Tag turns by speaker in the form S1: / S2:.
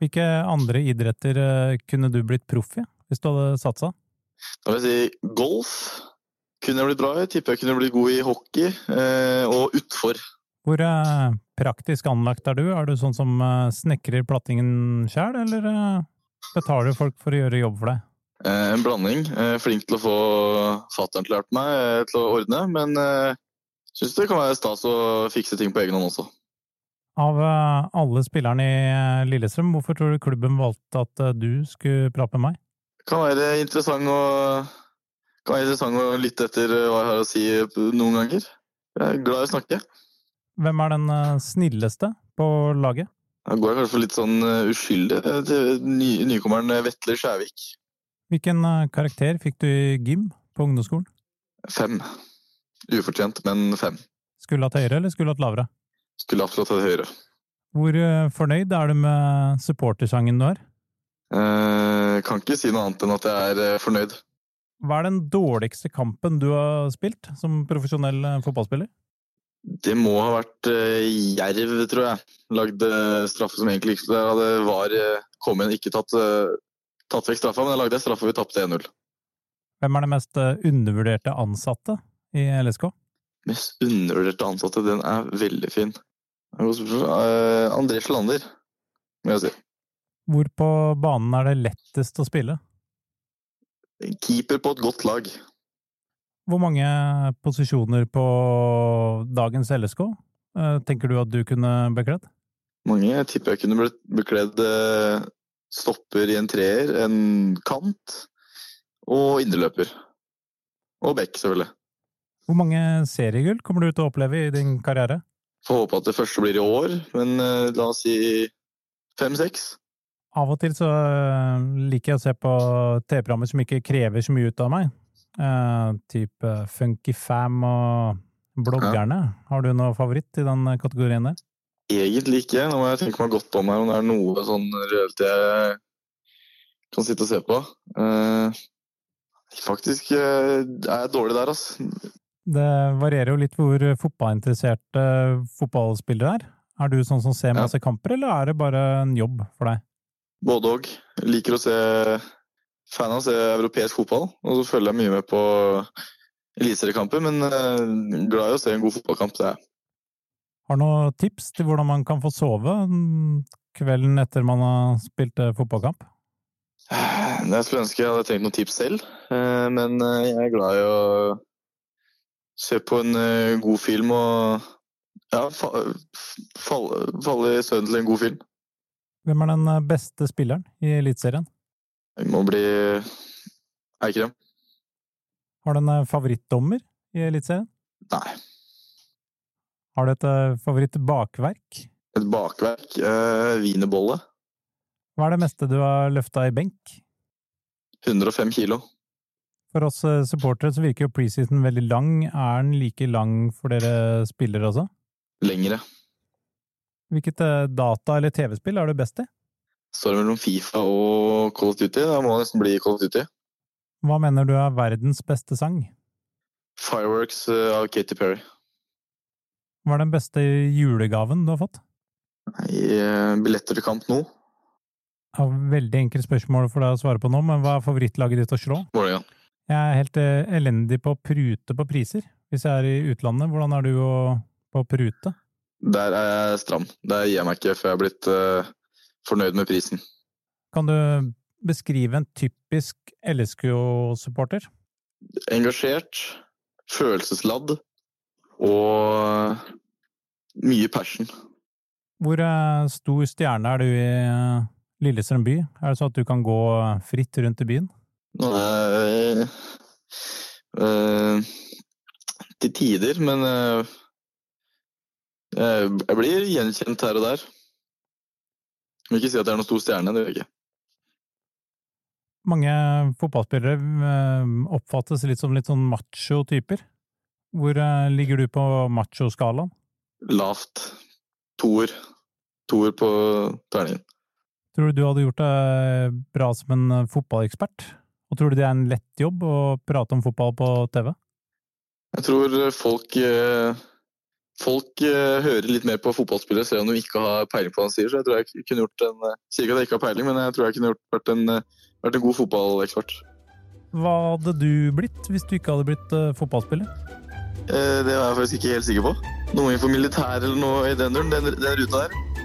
S1: Hvilke andre idretter eh, kunne du blitt proff i, hvis du hadde satsa?
S2: Da vil jeg si golf kunne jeg blitt bra i. Tipper jeg kunne blitt god i hockey eh, og utfor.
S1: Hvor eh, praktisk anlagt er du? Er du sånn som eh, snekrer plattingen sjæl, eller eh, betaler du folk for å gjøre jobb for deg?
S2: Eh, en blanding. Eh, flink til å få fatter'n til å hjelpe meg eh, til å ordne, men eh, syns det kan være stas å fikse ting på egen hånd også.
S1: Av eh, alle spillerne i eh, Lillestrøm, hvorfor tror du klubben valgte at eh, du skulle prate med meg?
S2: kan være interessant å kan være interessant å lytte etter eh, hva jeg har å si noen ganger. Jeg er glad i å snakke.
S1: Hvem er den eh, snilleste på laget?
S2: Da går jeg kanskje for litt sånn eh, uskyldig eh, til ny, nykommeren eh, Vetle Skjævik.
S1: Hvilken eh, karakter fikk du i gym på ungdomsskolen?
S2: Fem. Ufortjent, men fem.
S1: Skulle hatt høyere, eller skulle hatt lavere?
S2: Skulle absolutt hatt høyere.
S1: Hvor eh, fornøyd er du med supportersangen du har?
S2: Eh, kan ikke si noe annet enn at jeg er eh, fornøyd.
S1: Hva er den dårligste kampen du har spilt som profesjonell eh, fotballspiller?
S2: Det må ha vært eh, Jerv, tror jeg. Lagde straffe som egentlig ikke der hadde var eh, kommet inn, ikke tatt, eh, tatt vekk straffa, men jeg lagde en straffe og vi tapte 1-0.
S1: Hvem er den mest eh, undervurderte ansatte i LSK?
S2: Mest undervurderte ansatte, den er veldig fin. Det er et godt spørsmål. Eh, André Slander, må jeg si.
S1: Hvor på banen er det lettest å spille?
S2: En Keeper på et godt lag.
S1: Hvor mange posisjoner på dagens LSK eh, tenker du at du kunne bekledd?
S2: Mange tipper jeg kunne blitt bekledd eh, stopper i en treer, en kant og indreløper. Og bekk, selvfølgelig.
S1: Hvor mange seriegull kommer du til å oppleve i din karriere?
S2: Får håpe at det første blir i år, men eh, la oss si fem-seks.
S1: Av og til så eh, liker jeg å se på TV-programmer som ikke krever så mye ut av meg. Eh, type Funkyfam og Bloggerne. Har du noe favoritt i den kategorien der?
S2: Egentlig ikke. Nå må jeg tenke meg godt om her om det er noe sånn reelt jeg kan sitte og se på. Eh, faktisk eh, er jeg dårlig der, altså.
S1: Det varierer jo litt hvor fotballinteresserte fotballspillere er. Er du sånn som ser
S2: Ja.
S1: masse kamper, eller er det bare en jobb for deg?
S2: Både òg. Liker å se Fan av å se europeisk fotball, og så følger jeg mye med på eliteseriekamper. Men eh, glad i å se en god fotballkamp, det er jeg.
S1: Har du noen tips til hvordan man kan få sove mm, kvelden etter man har spilt eh, fotballkamp?
S2: Jeg skulle ønske jeg hadde trengt noen tips selv, eh, men eh, jeg er glad i å se på en eh, god film og ja, fa f- falle, falle i søvn til en god film.
S1: Hvem er den eh, beste spilleren i Eliteserien?
S2: Jeg må bli Eikrem.
S1: Har du en eh, favorittdommer i Eliteserien?
S2: Nei.
S1: Har du et eh, favorittbakverk?
S2: Et bakverk. Eh, Wienerbolle.
S1: Hva er det meste du har løfta i benk?
S2: 105 kilo.
S1: For oss eh, supportere så virker jo preseason veldig lang. Er den like lang for dere spillere også?
S2: Lengre.
S1: Hvilket eh, data- eller TV-spill er du best i?
S2: Står det mellom Fifa og Call of Duty. Da må det nesten bli Call of Duty.
S1: Hva mener du er verdens beste sang?
S2: Fireworks eh, av Katy Perry.
S1: Hva er den beste julegaven du har fått?
S2: Nei, eh, billetter til kamp nå.
S1: Jeg har veldig enkelt spørsmål for deg å svare på nå, men hva er favorittlaget ditt å slå?
S2: Vålerenga.
S1: Jeg er helt eh, elendig på å prute på priser. Hvis jeg er i utlandet, hvordan er du å- på å prute?
S2: Der er jeg stram. Der gir jeg meg ikke før jeg er blitt eh, fornøyd med prisen.
S1: Kan du beskrive en typisk LSK-supporter?
S2: Engasjert, følelsesladd og mye passion.
S1: Hvor eh, stor stjerne er du i eh, Lillestrøm by? Er det sånn at du kan gå fritt rundt i byen?
S2: Nå er jeg eh, til tider, men eh, jeg jeg blir gjenkjent her og der. Vil ikke si at jeg er noen stor stjerne, det gjør jeg ikke.
S1: Mange fotballspillere eh, oppfattes litt som litt sånn macho-typer. Hvor eh, ligger du på macho-skalaen?
S2: Lavt. Toer. Toer på terningen.
S1: Tror du du hadde gjort deg bra som en eh, fotballekspert? Og tror du det er en lett jobb å prate om fotball på TV?
S2: Jeg tror folk eh, Folk eh, hører litt mer på fotballspillere, selv om de ikke har peiling på hva han sier. Så jeg tror jeg kunne gjort en eh, Sier ikke at jeg ikke har peiling, men jeg tror jeg kunne gjort, vært, en, eh, vært en god fotballekspert.
S1: Hva hadde du blitt hvis du ikke hadde blitt eh, fotballspiller?
S2: Eh, Det var jeg faktisk ikke helt sikker på. Noe innenfor militær eller noe i den duren, den, den ruta der.